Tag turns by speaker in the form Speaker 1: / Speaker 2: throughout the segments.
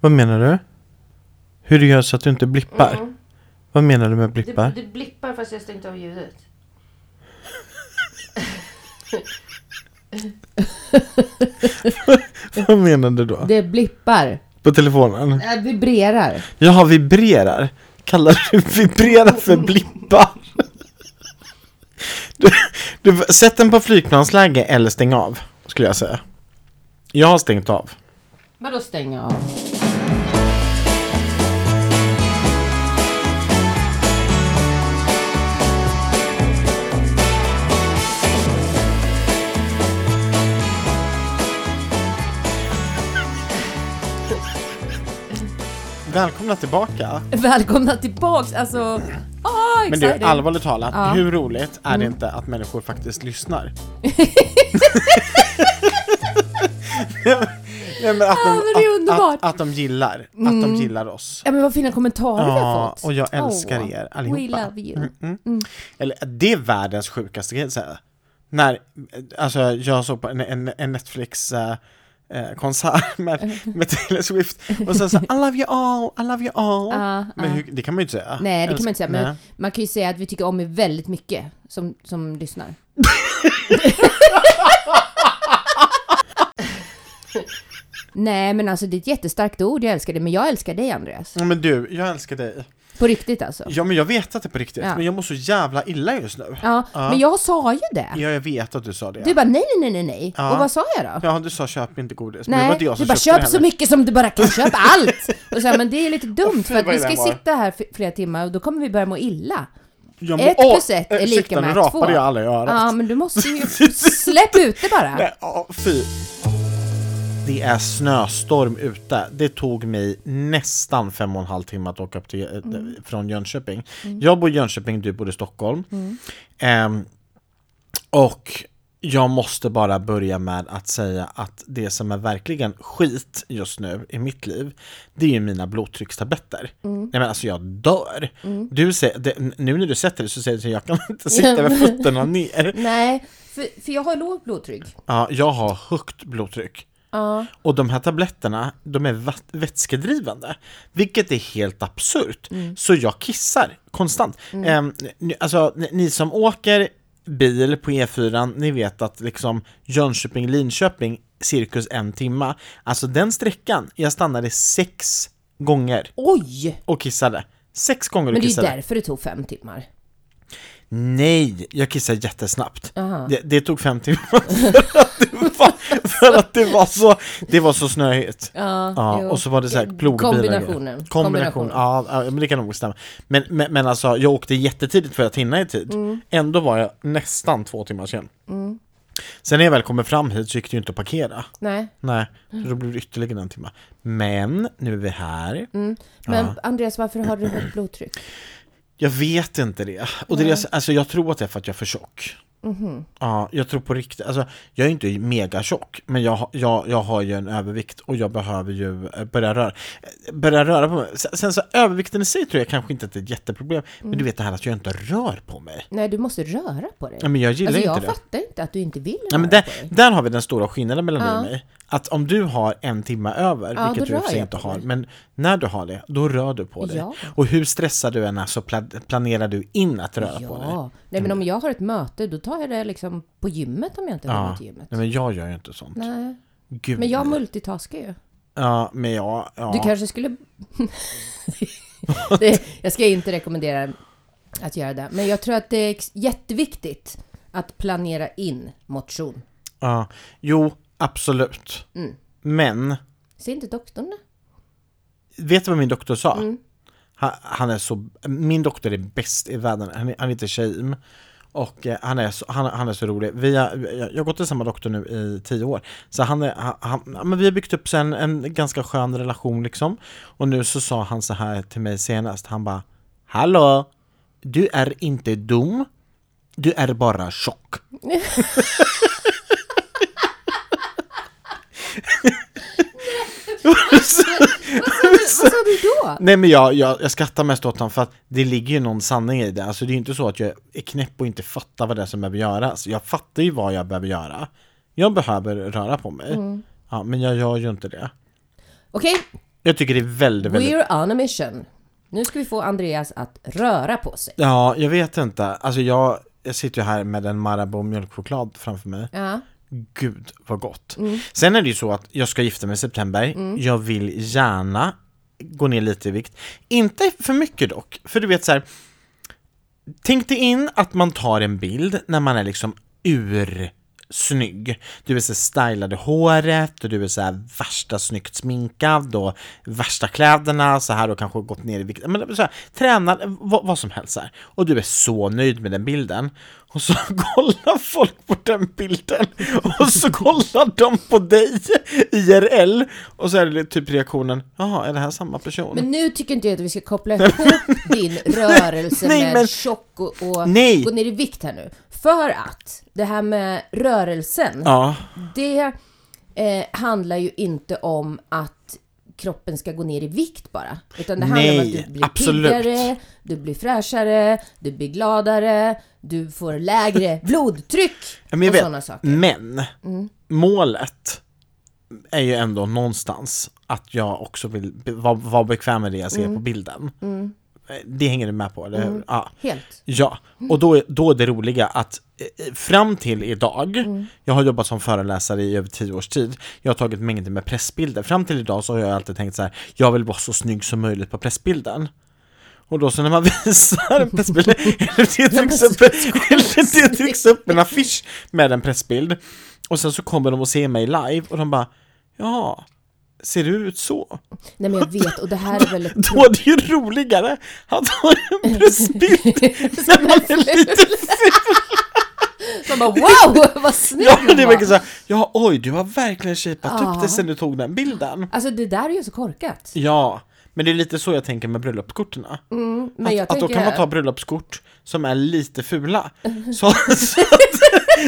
Speaker 1: Vad menar du? Hur du gör så att du inte blippar?
Speaker 2: Mm.
Speaker 1: Vad menar du med
Speaker 2: Du,
Speaker 1: blippar?
Speaker 2: du blippar fast jag stängt av ljudet.
Speaker 1: Vad menar du då?
Speaker 3: Det blippar.
Speaker 2: Äh,
Speaker 1: På telefonen?
Speaker 3: Det vibrerar.
Speaker 1: Jaha, vibrerar. Kallar du vibrera för blippar? Du, du, sätt den på flygplansläge eller stäng av, skulle jag säga. Jag har stängt av.
Speaker 3: Vadå stänga av?
Speaker 1: Välkomna tillbaka.
Speaker 3: Välkomna tillbaks. Alltså, ah,
Speaker 1: Men
Speaker 3: exciting.
Speaker 1: du, allvarligt talat,
Speaker 3: Ja. Mm.
Speaker 1: hur roligt är det inte att människor faktiskt lyssnar? Nej, men att,
Speaker 3: Ja, men det är
Speaker 1: de, att,
Speaker 3: underbart. Mm.
Speaker 1: att, att de gillar, att de gillar oss.
Speaker 3: Ja men vad fina kommentarer vi har
Speaker 1: Ja,
Speaker 3: fått.
Speaker 1: och jag älskar
Speaker 3: Åh,
Speaker 1: er allihopa. Mm,
Speaker 3: We love you.
Speaker 1: Eller det är världens sjukaste grej säga. När, alltså jag såg på en, en, en Netflix eh, eh, konsert med, med Taylor Swift och sen så I love you all, I love you all.
Speaker 3: Ja,
Speaker 1: men
Speaker 3: ja.
Speaker 1: hur, det kan man ju inte säga.
Speaker 3: Nej det kan man inte säga, men
Speaker 1: Nej.
Speaker 3: man kan ju säga att vi tycker om er väldigt mycket som, som lyssnar. Nej men alltså det är ett jättestarkt ord, jag älskar det, men jag älskar dig Andreas.
Speaker 1: Ja, Men du, jag älskar dig.
Speaker 3: På riktigt alltså.
Speaker 1: Ja men jag vet att det är på riktigt,
Speaker 3: Ja.
Speaker 1: men jag mår så jävla illa just nu.
Speaker 3: Ja, men jag sa ju det.
Speaker 1: Ja, jag vet att du sa det.
Speaker 3: Du bara nej, nej, nej, nej, nej.
Speaker 1: Ja.
Speaker 3: Och vad sa jag då?
Speaker 1: Ja, du sa köp inte godis, men det var
Speaker 3: Nej,
Speaker 1: inte jag
Speaker 3: du
Speaker 1: som
Speaker 3: bara
Speaker 1: köpte
Speaker 3: köp
Speaker 1: det
Speaker 3: så
Speaker 1: heller.
Speaker 3: mycket som du bara kan, köp allt! Och så, här, men det är lite dumt
Speaker 1: Åh, fy,
Speaker 3: för att
Speaker 1: vad
Speaker 3: vi
Speaker 1: den
Speaker 3: ska
Speaker 1: var.
Speaker 3: sitta här f- flera timmar och då kommer vi börja må illa.
Speaker 1: Jag mår-
Speaker 3: Ett
Speaker 1: Åh,
Speaker 3: plus ett är lika
Speaker 1: ursäkta, nu
Speaker 3: med två.
Speaker 1: rapade jag alla i örat.
Speaker 3: Ja, men du måste ju... Släpp ut det bara!
Speaker 1: Nej, ja, fy. Det är snöstorm ute. Det tog mig nästan fem och en halv timme att åka upp till, eh, från Jönköping. Jag bor i Jönköping, du bor i Stockholm. Ehm, och jag måste bara börja med att säga att det som är verkligen skit just nu i mitt liv, det är ju mina blodtryckstabletter. Nej men alltså jag dör. Du säger, det, nu när du sätter dig så säger du att jag kan inte sitta med fötterna ner.
Speaker 3: Nej, för, för jag har lågt blodtryck.
Speaker 1: Ja, jag har högt blodtryck.
Speaker 3: Ja.
Speaker 1: Och de här tabletterna, de är vat- vätskedrivande. Vilket är helt absurt.
Speaker 3: Mm.
Speaker 1: Så jag kissar konstant. Mm. alltså, ni, ni som åker bil på E4, ni vet att liksom Jönköping-Linköping, cirkus en timma. Alltså den sträckan, jag stannade sex gånger
Speaker 3: Oj!
Speaker 1: och kissade. Sex gånger
Speaker 3: Men
Speaker 1: och
Speaker 3: det är ju
Speaker 1: kissade.
Speaker 3: därför det tog fem timmar.
Speaker 1: Nej, jag kissade jättesnabbt.
Speaker 3: Aha.
Speaker 1: Det, det tog fem timmar för att det var, för att det var så, det var så snöigt.
Speaker 3: Ja,
Speaker 1: Ja,
Speaker 3: jo. Eh,
Speaker 1: och så var det så här plogbilar. och grejer.
Speaker 3: Kombinationen.
Speaker 1: Kombination.
Speaker 3: Kombination.
Speaker 1: Ja, ja, men det kan nog stämma. Men, men, men alltså, jag åkte jättetidigt för att hinna i tid.
Speaker 3: Mm.
Speaker 1: Ändå var jag nästan två timmar sen. Sen när jag väl kommer fram hit så gick det ju inte att parkera.
Speaker 3: Nej,
Speaker 1: Nej, så då blev det ytterligare en timme. Men nu är vi här.
Speaker 3: men Andreas varför har du högt blodtryck?
Speaker 1: Jag vet inte det. Och det är, det- alltså, jag tror att det är för att jag är för tjock.
Speaker 3: Mhm.
Speaker 1: Ja, jag tror på riktigt. Alltså, jag är inte mega tjock, men jag, har- jag, jag har ju en övervikt och jag behöver ju eh, börja röra, eh, börja röra på mig. Sen, sen så övervikten i sig tror jag kanske inte att det är ett jätteproblem,
Speaker 3: Mm.
Speaker 1: men du vet det här att jag inte rör på mig.
Speaker 3: Nej, du måste röra på dig.
Speaker 1: Ja, men jag gillar
Speaker 3: Alltså
Speaker 1: inte
Speaker 3: jag
Speaker 1: det.
Speaker 3: fattar inte att du inte vill
Speaker 1: Ja,
Speaker 3: röra
Speaker 1: men där,
Speaker 3: på dig.
Speaker 1: där har vi den stora skillnaden mellan dig
Speaker 3: Ja.
Speaker 1: och mig. Att om du har en timme över,
Speaker 3: Ja,
Speaker 1: vilket
Speaker 3: då
Speaker 1: du i och för
Speaker 3: rör
Speaker 1: sig
Speaker 3: jag
Speaker 1: inte
Speaker 3: på
Speaker 1: har,
Speaker 3: mig.
Speaker 1: men när du har det, då rör du på dig.
Speaker 3: Ja.
Speaker 1: Och hur stressad du än är så pla- planerar du in att röra på dig. Mm.
Speaker 3: Ja, nej men om jag har ett möte då tar jag det liksom på gymmet om jag inte har något till gymmet.
Speaker 1: Nej, men jag gör ju inte sånt.
Speaker 3: Nej,
Speaker 1: Gud.
Speaker 3: men jag
Speaker 1: nej.
Speaker 3: multitaskar ju.
Speaker 1: Ja, men jag... Ja.
Speaker 3: Du kanske skulle... det, jag ska inte rekommendera att göra det, men jag tror att det är ex- jätteviktigt att planera in motion.
Speaker 1: ja. Jo, absolut.
Speaker 3: Mm.
Speaker 1: Men,
Speaker 3: Ser inte doktorn det?
Speaker 1: vet du vad min doktor sa? Han, han är så... Min doktor är bäst i världen. Han, är- han heter Shaim. Och eh, han är, så, han, han är så rolig. Vi har, jag jag har gått till samma doktor nu i tio år. Så han är, han, han, ja, men vi har byggt upp så en, en ganska skön relation liksom. Och nu så sa han så här till mig senast. Han bara Hallå! Du är inte dum. Du är bara tjock.
Speaker 3: Vad sa du då?
Speaker 1: Nej men jag, jag, jag skrattar mest åt honom för att det ligger ju någon sanning i det. Alltså det är ju inte så att jag är knäpp och inte fattar vad det är som behöver göras. Jag fattar ju vad jag behöver göra. Jag behöver röra på mig. Ja, men jag gör ju inte det.
Speaker 3: Okej,
Speaker 1: Jag tycker det är väldigt, väldigt...
Speaker 3: We're on a mission. Nu ska vi få Andreas att röra på sig.
Speaker 1: Ja, jag vet inte. Alltså jag, jag sitter ju här med en Marabou mjölkchoklad framför mig.
Speaker 3: Ja.
Speaker 1: Gud vad gott. Sen är det ju så att jag ska gifta mig i september. Jag vill gärna gå ner lite i vikt. Inte för mycket dock, för du vet så här. Tänk dig in att man tar en bild när man är liksom ur snygg. Du är så stylade håret och du är så här värsta snyggt sminkad och värsta kläderna så här och kanske gått ner i vikt. Men så här, tränar, vad, vad som helst så här. Och du är så nöjd med den bilden. Och så kollar folk på den bilden och så kollar de på dig IRL och så är det typ reaktionen, jaha är det här samma person?
Speaker 3: Men nu tycker inte jag att vi ska koppla ihop din rörelse
Speaker 1: Nej,
Speaker 3: med
Speaker 1: men-
Speaker 3: tjock och, och
Speaker 1: Nej.
Speaker 3: gå ner i vikt här nu. För att det här med rörelsen,
Speaker 1: Ja,
Speaker 3: det eh, handlar ju inte om att kroppen ska gå ner i vikt bara. Utan det handlar om
Speaker 1: Nej,
Speaker 3: att du blir
Speaker 1: absolut.
Speaker 3: piggare, du blir fräschare, du blir gladare, du får lägre blodtryck
Speaker 1: men jag
Speaker 3: och sådana
Speaker 1: vet.
Speaker 3: saker. Mm.
Speaker 1: Men målet är ju ändå någonstans att jag också vill be- vara vara bekväm med det jag ser
Speaker 3: Mm.
Speaker 1: på bilden. Det hänger du med på, eller hur? Ja.
Speaker 3: Helt.
Speaker 1: Ja, och då, är- då är det roliga att eh, fram till idag, jag har jobbat som föreläsare i över tio års tid, jag har tagit mängder med pressbilder. Fram till idag så har jag alltid tänkt så här, jag vill vara så snygg som möjligt på pressbilden. Och då så när man visar en pressbild, eller det trycks upp, eller det trycks upp en affisch med en pressbild, och sen så kommer de och ser mig live och de bara, ja, ser du ut så?
Speaker 3: Nej men jag vet, och det här är väl ett
Speaker 1: Då är det ju roligare att ha en pressbild när man är lite
Speaker 3: Man bara wow, vad snygg
Speaker 1: Ja,
Speaker 3: du
Speaker 1: det är
Speaker 3: var.
Speaker 1: verkligen såhär, ja oj du har verkligen shapat upp
Speaker 3: Ja.
Speaker 1: dig sen du tog den bilden.
Speaker 3: Alltså det där är ju så korkat.
Speaker 1: Ja, men det är lite så jag tänker med bröllopskorten.
Speaker 3: Men
Speaker 1: att,
Speaker 3: jag
Speaker 1: att då
Speaker 3: tänker,
Speaker 1: kan man ta bröllopskort som är lite fula. Så, så, att-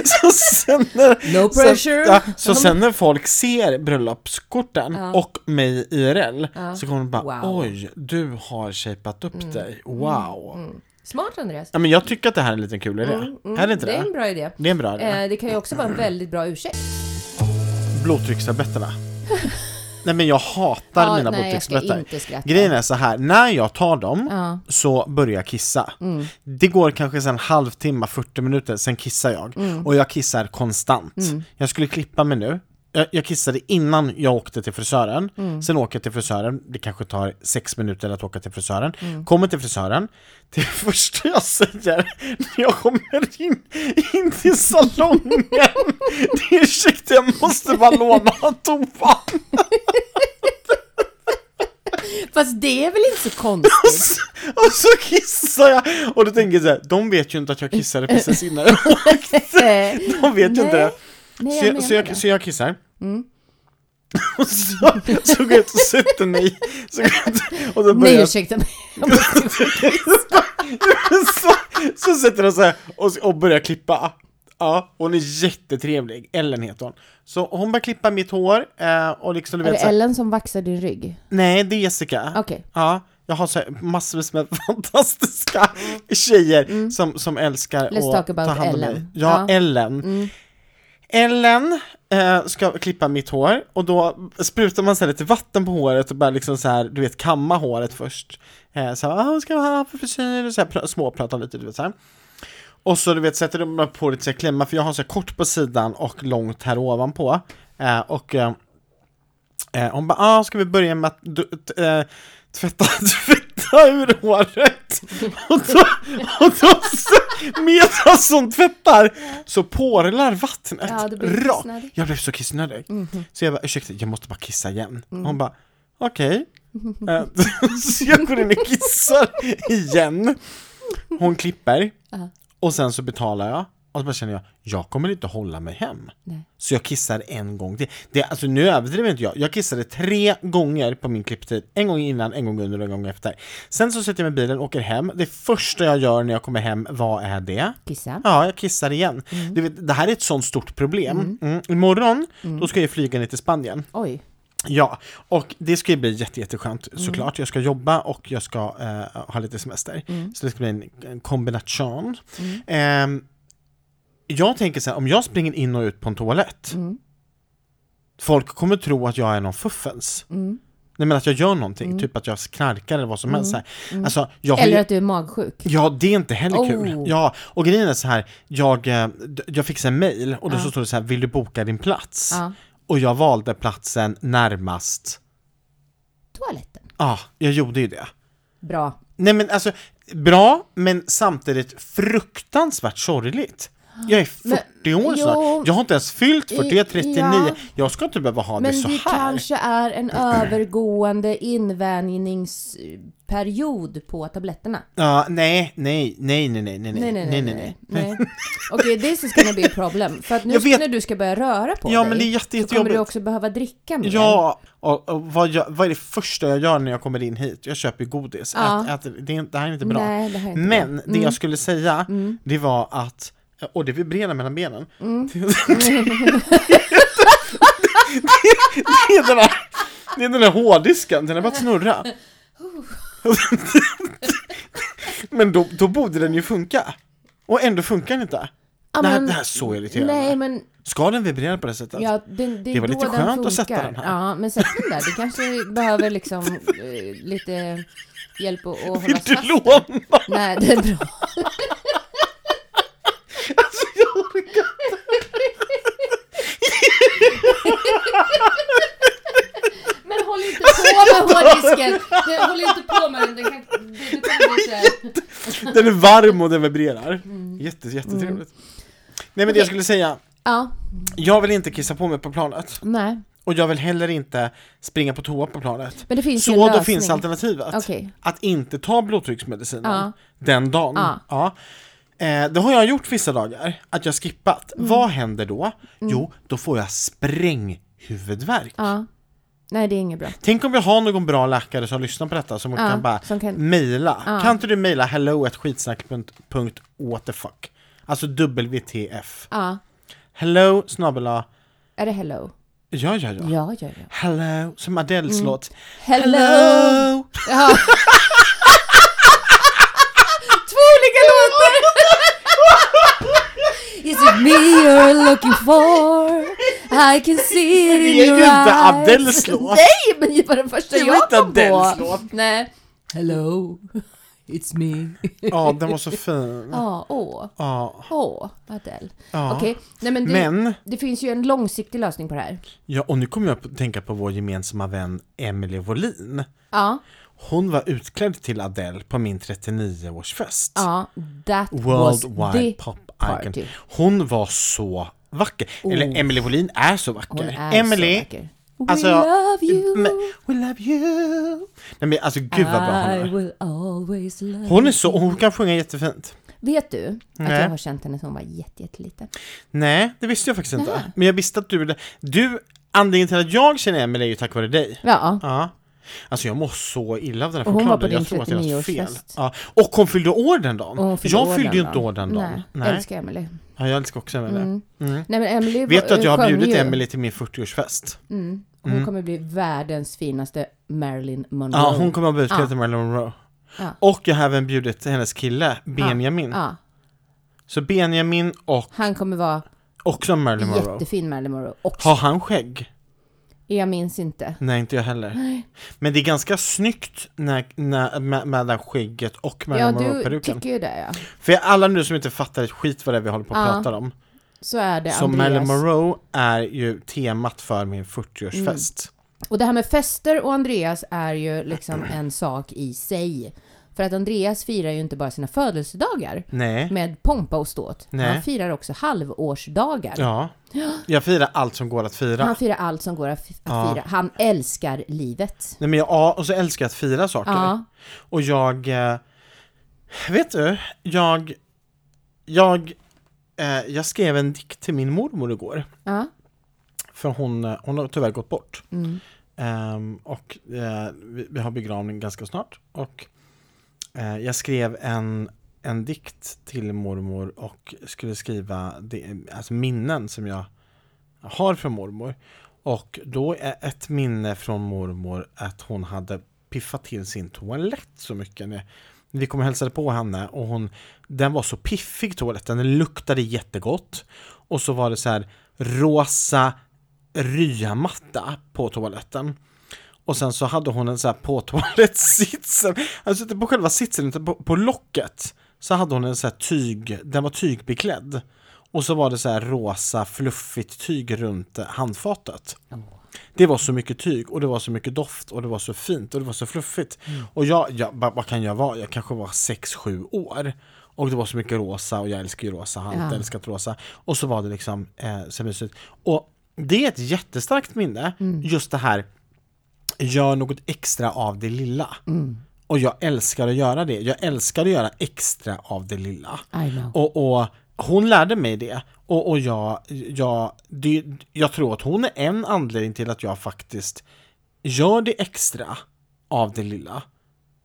Speaker 1: så sen när,
Speaker 3: No
Speaker 1: så,
Speaker 3: pressure.
Speaker 1: ja, så sen när folk ser bröllopskorten
Speaker 3: Ja.
Speaker 1: och mig IRL
Speaker 3: Ja.
Speaker 1: så kommer de bara
Speaker 3: Wow.
Speaker 1: oj, du har shapat upp dig, wow.
Speaker 3: Smart Andreas.
Speaker 1: Ja, men jag tycker att det här är en liten kul idé. är Mm, det inte det?
Speaker 3: det är en bra idé.
Speaker 1: Det är en bra idé.
Speaker 3: Eh, det kan ju också vara en väldigt bra ursäkt.
Speaker 1: blodtryckstabletterna. nej men jag hatar
Speaker 3: Ja,
Speaker 1: mina
Speaker 3: nej, jag ska
Speaker 1: blodtryckstabletter.
Speaker 3: inte skratta.
Speaker 1: Grejen är så här, när jag tar dem
Speaker 3: Ja. Mm.
Speaker 1: så börjar jag kissa. Det går kanske en halvtimme, 40 minuter, sen kissar jag.
Speaker 3: Mm.
Speaker 1: Och jag kissar konstant. Jag skulle klippa mig nu. Jag, jag kissade innan jag åkte till frisören.
Speaker 3: Mm.
Speaker 1: Sen åker jag till frisören, det kanske tar sex minuter att åka till frisören.
Speaker 3: Mm.
Speaker 1: Kommer till frisören, det första jag säger när jag kommer in, in till salongen, det är ursäkta jag måste bara låna toan.
Speaker 3: Fast det är väl inte så konstigt?
Speaker 1: Och så kissar jag! Och då tänker jag så här, de vet ju inte att jag kissade precis innan jag åkte.
Speaker 3: Eh,
Speaker 1: De vet ju inte det.
Speaker 3: Nej, nej,
Speaker 1: Så
Speaker 3: jag
Speaker 1: jag,
Speaker 3: menar
Speaker 1: så jag,
Speaker 3: det. Mm.
Speaker 1: så jag kissar. Och så, så går jag ut och sätter mig. i- Så går jag ut, och då börjar
Speaker 3: Nej
Speaker 1: jag,
Speaker 3: ursäkta mig. Jag måste-
Speaker 1: så, så sätter hon så här och, och börjar klippa. Ja, hon är jättetrevlig. Ellen heter hon. Så hon börjar klippa mitt hår eh, och liksom du
Speaker 3: Är
Speaker 1: vet
Speaker 3: det
Speaker 1: så här,
Speaker 3: Ellen som vaxar din rygg?
Speaker 1: Nej, det är Jessica.
Speaker 3: Okej.
Speaker 1: Ja, jag har så här massvis med fantastiska tjejer som, som älskar
Speaker 3: Mm. Let's
Speaker 1: att
Speaker 3: talk about
Speaker 1: ta hand om mig.
Speaker 3: Ellen.
Speaker 1: Ja,
Speaker 3: Ja. Mm.
Speaker 1: Ellen. Ellen eh, ska klippa mitt hår och då sprutar man så här lite vatten på håret och bara liksom så här, du vet, kamma håret först. Eh, så här, ah, vad ska jag ha för frisyr? Och så här, pr- småprata lite, du vet så här. Och så du vet sätter de på lite så här klämma för jag har så här kort på sidan och långt här ovanpå. Eh, och eh, eh, hon bara, ah, ska vi börja med att du, t- eh, tvätta, tvätta ur håret? och då, och då så, medan hon tvättar så porlar vattnet.
Speaker 3: Ja, du blir
Speaker 1: rakt.
Speaker 3: kissnödig. Mhm.
Speaker 1: Jag blev så kissnödig. Så jag bara, ursäkta, jag måste bara kissa igen.
Speaker 3: Mm.
Speaker 1: Hon bara, okej. Eh, så jag går in och kissar igen. Hon klipper.
Speaker 3: Ja.
Speaker 1: Och sen så betalar jag. Och så bara känner jag, jag kommer inte hålla mig hem.
Speaker 3: Nej.
Speaker 1: Så jag kissar en gång till. Det, alltså nu överdriver inte jag. Jag kissade tre gånger på min klipptid. En gång innan, en gång under och en gång efter. Sen så sätter jag mig i bilen och åker hem. Det första jag gör när jag kommer hem, vad är det?
Speaker 3: Kissa?
Speaker 1: Ja, jag kissar igen. Du vet, det här är ett sånt stort problem. Mm. Imorgon, då ska jag flyga ner till Spanien.
Speaker 3: Oj.
Speaker 1: Ja, och det ska ju bli jätte, jätteskönt såklart. Jag ska jobba och jag ska eh, ha lite semester. Så det ska bli en, en kombination. Ehm, jag tänker så här, om jag springer in och ut på en toalett, folk kommer tro att jag är någon fuffens. Nej men att jag gör någonting, typ att jag knarkar eller vad som helst. Så här. Alltså, jag har ju-
Speaker 3: Eller att du är magsjuk.
Speaker 1: Ja, det är inte heller
Speaker 3: Oh.
Speaker 1: kul. Ja, och grejen är så här, jag, eh, d- jag fick så en mail och då så står det så här, vill du boka din plats?
Speaker 3: Ja.
Speaker 1: Och jag valde platsen närmast.
Speaker 3: Toaletten.
Speaker 1: Ja, jag gjorde ju det.
Speaker 3: Bra.
Speaker 1: Nej men alltså, bra men samtidigt fruktansvärt sorgligt. Jag är 40 år
Speaker 3: jo.
Speaker 1: snart, jag har inte ens fyllt 40, jag är 39.
Speaker 3: Ja.
Speaker 1: Jag ska inte behöva ha det
Speaker 3: Men
Speaker 1: så
Speaker 3: det
Speaker 1: här.
Speaker 3: kanske är en övergående invänjningsperiod på tabletterna.
Speaker 1: Ja, nej, nej, nej, nej, nej, nej,
Speaker 3: Nej, nej, nej. nej, nej. nej. Okej, this is gonna be a problem. För att nu
Speaker 1: Jag vet-
Speaker 3: när du ska börja röra på
Speaker 1: Ja,
Speaker 3: dig
Speaker 1: men det är jätte-
Speaker 3: så kommer
Speaker 1: jättejobbigt.
Speaker 3: du också behöva dricka mer.
Speaker 1: Ja, och, och vad, jag, vad är det första jag gör när jag kommer in hit? Jag köper ju godis.
Speaker 3: Ja.
Speaker 1: Ät, ät, det, är, det här är inte bra.
Speaker 3: Nej, det här är
Speaker 1: Men
Speaker 3: inte
Speaker 1: det jag skulle säga, det var att, och det vibrerar mellan benen. Det, det, det, det är den här, det är den här hårddisken, den har börjat snurra. Men då, då borde den ju funka. Och ändå funkar den inte.
Speaker 3: Ja,
Speaker 1: det, här,
Speaker 3: men-
Speaker 1: det här är så irriterande.
Speaker 3: Nej, men
Speaker 1: Ska den vibrera på det sättet?
Speaker 3: ja, det, det,
Speaker 1: Det var
Speaker 3: är
Speaker 1: lite
Speaker 3: då
Speaker 1: skönt
Speaker 3: den
Speaker 1: att sätta
Speaker 3: funkar.
Speaker 1: den här.
Speaker 3: Ja, men sätt den där. Du kanske behöver liksom eh, lite hjälp att, att hålla
Speaker 1: Vill du
Speaker 3: fast.
Speaker 1: låna?
Speaker 3: Nej, det är bra.
Speaker 1: Alltså jag orkar inte.
Speaker 3: Men håll inte på med hårddisken! Det- Håll inte på med den, den kan... Det, det kommer bli så här.
Speaker 1: Den är varm och den vibrerar.
Speaker 3: Mm.
Speaker 1: Jätte, jättetrevligt. Nej men det jag skulle säga,
Speaker 3: Ja,
Speaker 1: jag vill inte kissa på mig på planet.
Speaker 3: nej.
Speaker 1: Och jag vill heller inte springa på toa på planet.
Speaker 3: Men det finns ju en
Speaker 1: Så då
Speaker 3: lösning.
Speaker 1: finns alternativet.
Speaker 3: Okej.
Speaker 1: Att inte ta blodtrycksmedicinen
Speaker 3: Ja.
Speaker 1: den dagen.
Speaker 3: Ja.
Speaker 1: Ja. Eh, det har jag gjort vissa dagar, att jag skippat.
Speaker 3: Mm.
Speaker 1: Vad händer då? Jo, då får jag spränghuvudvärk.
Speaker 3: Ja. Nej, det är inget bra.
Speaker 1: Tänk om vi har någon bra läkare som lyssnar på detta som kan bara
Speaker 3: som kan-
Speaker 1: mejla.
Speaker 3: Ja.
Speaker 1: Kan inte du mejla hello at skitsnack.whatthefuck? Alltså WTF.
Speaker 3: Ja.
Speaker 1: Hello snabbela.
Speaker 3: Är det hello?
Speaker 1: Ja, ja, ja.
Speaker 3: Ja, ja, ja.
Speaker 1: Hello, som Adeles låt.
Speaker 3: Hello!
Speaker 1: Hello!
Speaker 3: Ja. Två olika låtar! Is it me you're looking for? I can see it in
Speaker 1: Det är
Speaker 3: your
Speaker 1: ju inte
Speaker 3: eyes.
Speaker 1: Adele's låt.
Speaker 3: Nej, men det var den första
Speaker 1: Det var
Speaker 3: jag
Speaker 1: inte
Speaker 3: kom
Speaker 1: Adele's
Speaker 3: på.
Speaker 1: låt.
Speaker 3: Nej. Hello, it's me.
Speaker 1: Ja, den var så fin.
Speaker 3: Ja, åh,
Speaker 1: Ja,
Speaker 3: åh, Adele.
Speaker 1: ja.
Speaker 3: Okej, nej men det,
Speaker 1: Men,
Speaker 3: det finns ju en långsiktig lösning på det här.
Speaker 1: ja, och nu kommer jag att tänka på vår gemensamma vän Emily Wåhlin.
Speaker 3: Ja,
Speaker 1: Hon var utklädd till Adele på min 39-årsfest.
Speaker 3: ja, that was
Speaker 1: Worldwide
Speaker 3: the
Speaker 1: pop
Speaker 3: party. Oh.
Speaker 1: icon. Hon var så vacker. Eller Emily Wåhlin är så vacker.
Speaker 3: Hon är
Speaker 1: Emily,
Speaker 3: så vacker. We
Speaker 1: alltså-
Speaker 3: love you.
Speaker 1: Men, we love you. Nej men alltså gud vad bra hon
Speaker 3: I
Speaker 1: är.
Speaker 3: will always love
Speaker 1: Hon är så, hon kan sjunga jättefint.
Speaker 3: Vet du att
Speaker 1: Nej.
Speaker 3: jag har känt henne som hon var jätte, jätteliten?
Speaker 1: Nej, det visste jag faktiskt inte. Men jag visste att du, du, anledningen till att jag känner Emily är ju tack vare dig.
Speaker 3: Ja.
Speaker 1: Ja. Alltså jag mår så illa av den här
Speaker 3: Och hon var på
Speaker 1: chokladen. Jag
Speaker 3: din
Speaker 1: tror att det är något fel.
Speaker 3: 39-årsfest.
Speaker 1: Ja. Och hon fyllde år den dagen.
Speaker 3: och hon fyllde
Speaker 1: jag
Speaker 3: år
Speaker 1: fyllde
Speaker 3: den
Speaker 1: ju inte
Speaker 3: dagen.
Speaker 1: år den dagen.
Speaker 3: Nej. Mm.
Speaker 1: Nej.
Speaker 3: Älskar Emily.
Speaker 1: Ja, jag älskar också Emily. Mm.
Speaker 3: Nej men Emily
Speaker 1: Vet du
Speaker 3: var-
Speaker 1: att jag har
Speaker 3: sjöng
Speaker 1: bjudit
Speaker 3: ju.
Speaker 1: Emily till min 40-årsfest?
Speaker 3: Mm. Hon kommer bli världens finaste Marilyn Monroe.
Speaker 1: Ja, hon kommer att bli
Speaker 3: Ja.
Speaker 1: utklädd till Marilyn Monroe.
Speaker 3: Ja.
Speaker 1: Och jag har även bjudit hennes kille, Benjamin.
Speaker 3: Ja,
Speaker 1: Så Benjamin och
Speaker 3: han kommer vara
Speaker 1: också Marilyn Monroe.
Speaker 3: jättefin Marilyn Monroe också.
Speaker 1: Har han skägg?
Speaker 3: Jag minns inte.
Speaker 1: Nej, inte jag heller. Men det är ganska snyggt när, när, med, med det här skägget och
Speaker 3: Ja,
Speaker 1: Marilyn
Speaker 3: du
Speaker 1: Monroe-peruken.
Speaker 3: tycker ju det ja.
Speaker 1: För alla nu som inte fattar ett skit vad det är vi håller på att
Speaker 3: Ja.
Speaker 1: prata om.
Speaker 3: Så är det
Speaker 1: Så Marilyn
Speaker 3: Andreas.
Speaker 1: Monroe är ju temat för min 40-årsfest.
Speaker 3: Och det här med fester och Andreas är ju liksom en sak i sig. För att Andreas firar ju inte bara sina födelsedagar
Speaker 1: Nej.
Speaker 3: med pompa och ståt.
Speaker 1: Nej.
Speaker 3: Han firar också halvårsdagar.
Speaker 1: Ja. Jag firar allt som går att fira.
Speaker 3: Han firar allt som går att fi- att fira. Han älskar livet.
Speaker 1: Nej men jag, ja, och så älskar jag att fira saker.
Speaker 3: Ja.
Speaker 1: Och jag, eh, vet du, jag, jag, eh, jag skrev en dikt till min mormor igår.
Speaker 3: Ja. Mm.
Speaker 1: För hon, eh, hon har tyvärr gått bort. Ehm, och eh, vi, vi har begravning ganska snart. Och eh, jag skrev en, en dikt till mormor och skulle skriva det, alltså minnen som jag har från mormor. Och då är ett minne från mormor att hon hade piffat till sin toalett så mycket. När vi kom och hälsade på henne och hon, den var så piffig toaletten, den luktade jättegott. Och så var det så här rosa ryamatta på toaletten. Och sen så hade hon en så här påtvålad sits. Alltså inte på själva sitsen, utan på, på locket. Så hade hon en så här tyg, den var tygbeklädd. Och så var det så här rosa fluffigt tyg runt eh, handfatet. Det var så mycket tyg och det var så mycket doft och det var så fint och det var så fluffigt. Och jag, jag vad vad kan jag vara? Jag kanske var 6-7 år. Och det var så mycket rosa och jag älskar ju rosa, har alltid
Speaker 3: Ja.
Speaker 1: älskat rosa. Och så var det liksom eh, så mysigt. Och det är ett jättestarkt minne, just det här gör något extra av det lilla. Och jag älskar att göra det. Jag älskar att göra extra av det lilla.
Speaker 3: I know.
Speaker 1: Och, och hon lärde mig det. Och, och jag, jag, det, jag tror att hon är en anledning till att jag faktiskt gör det extra av det lilla.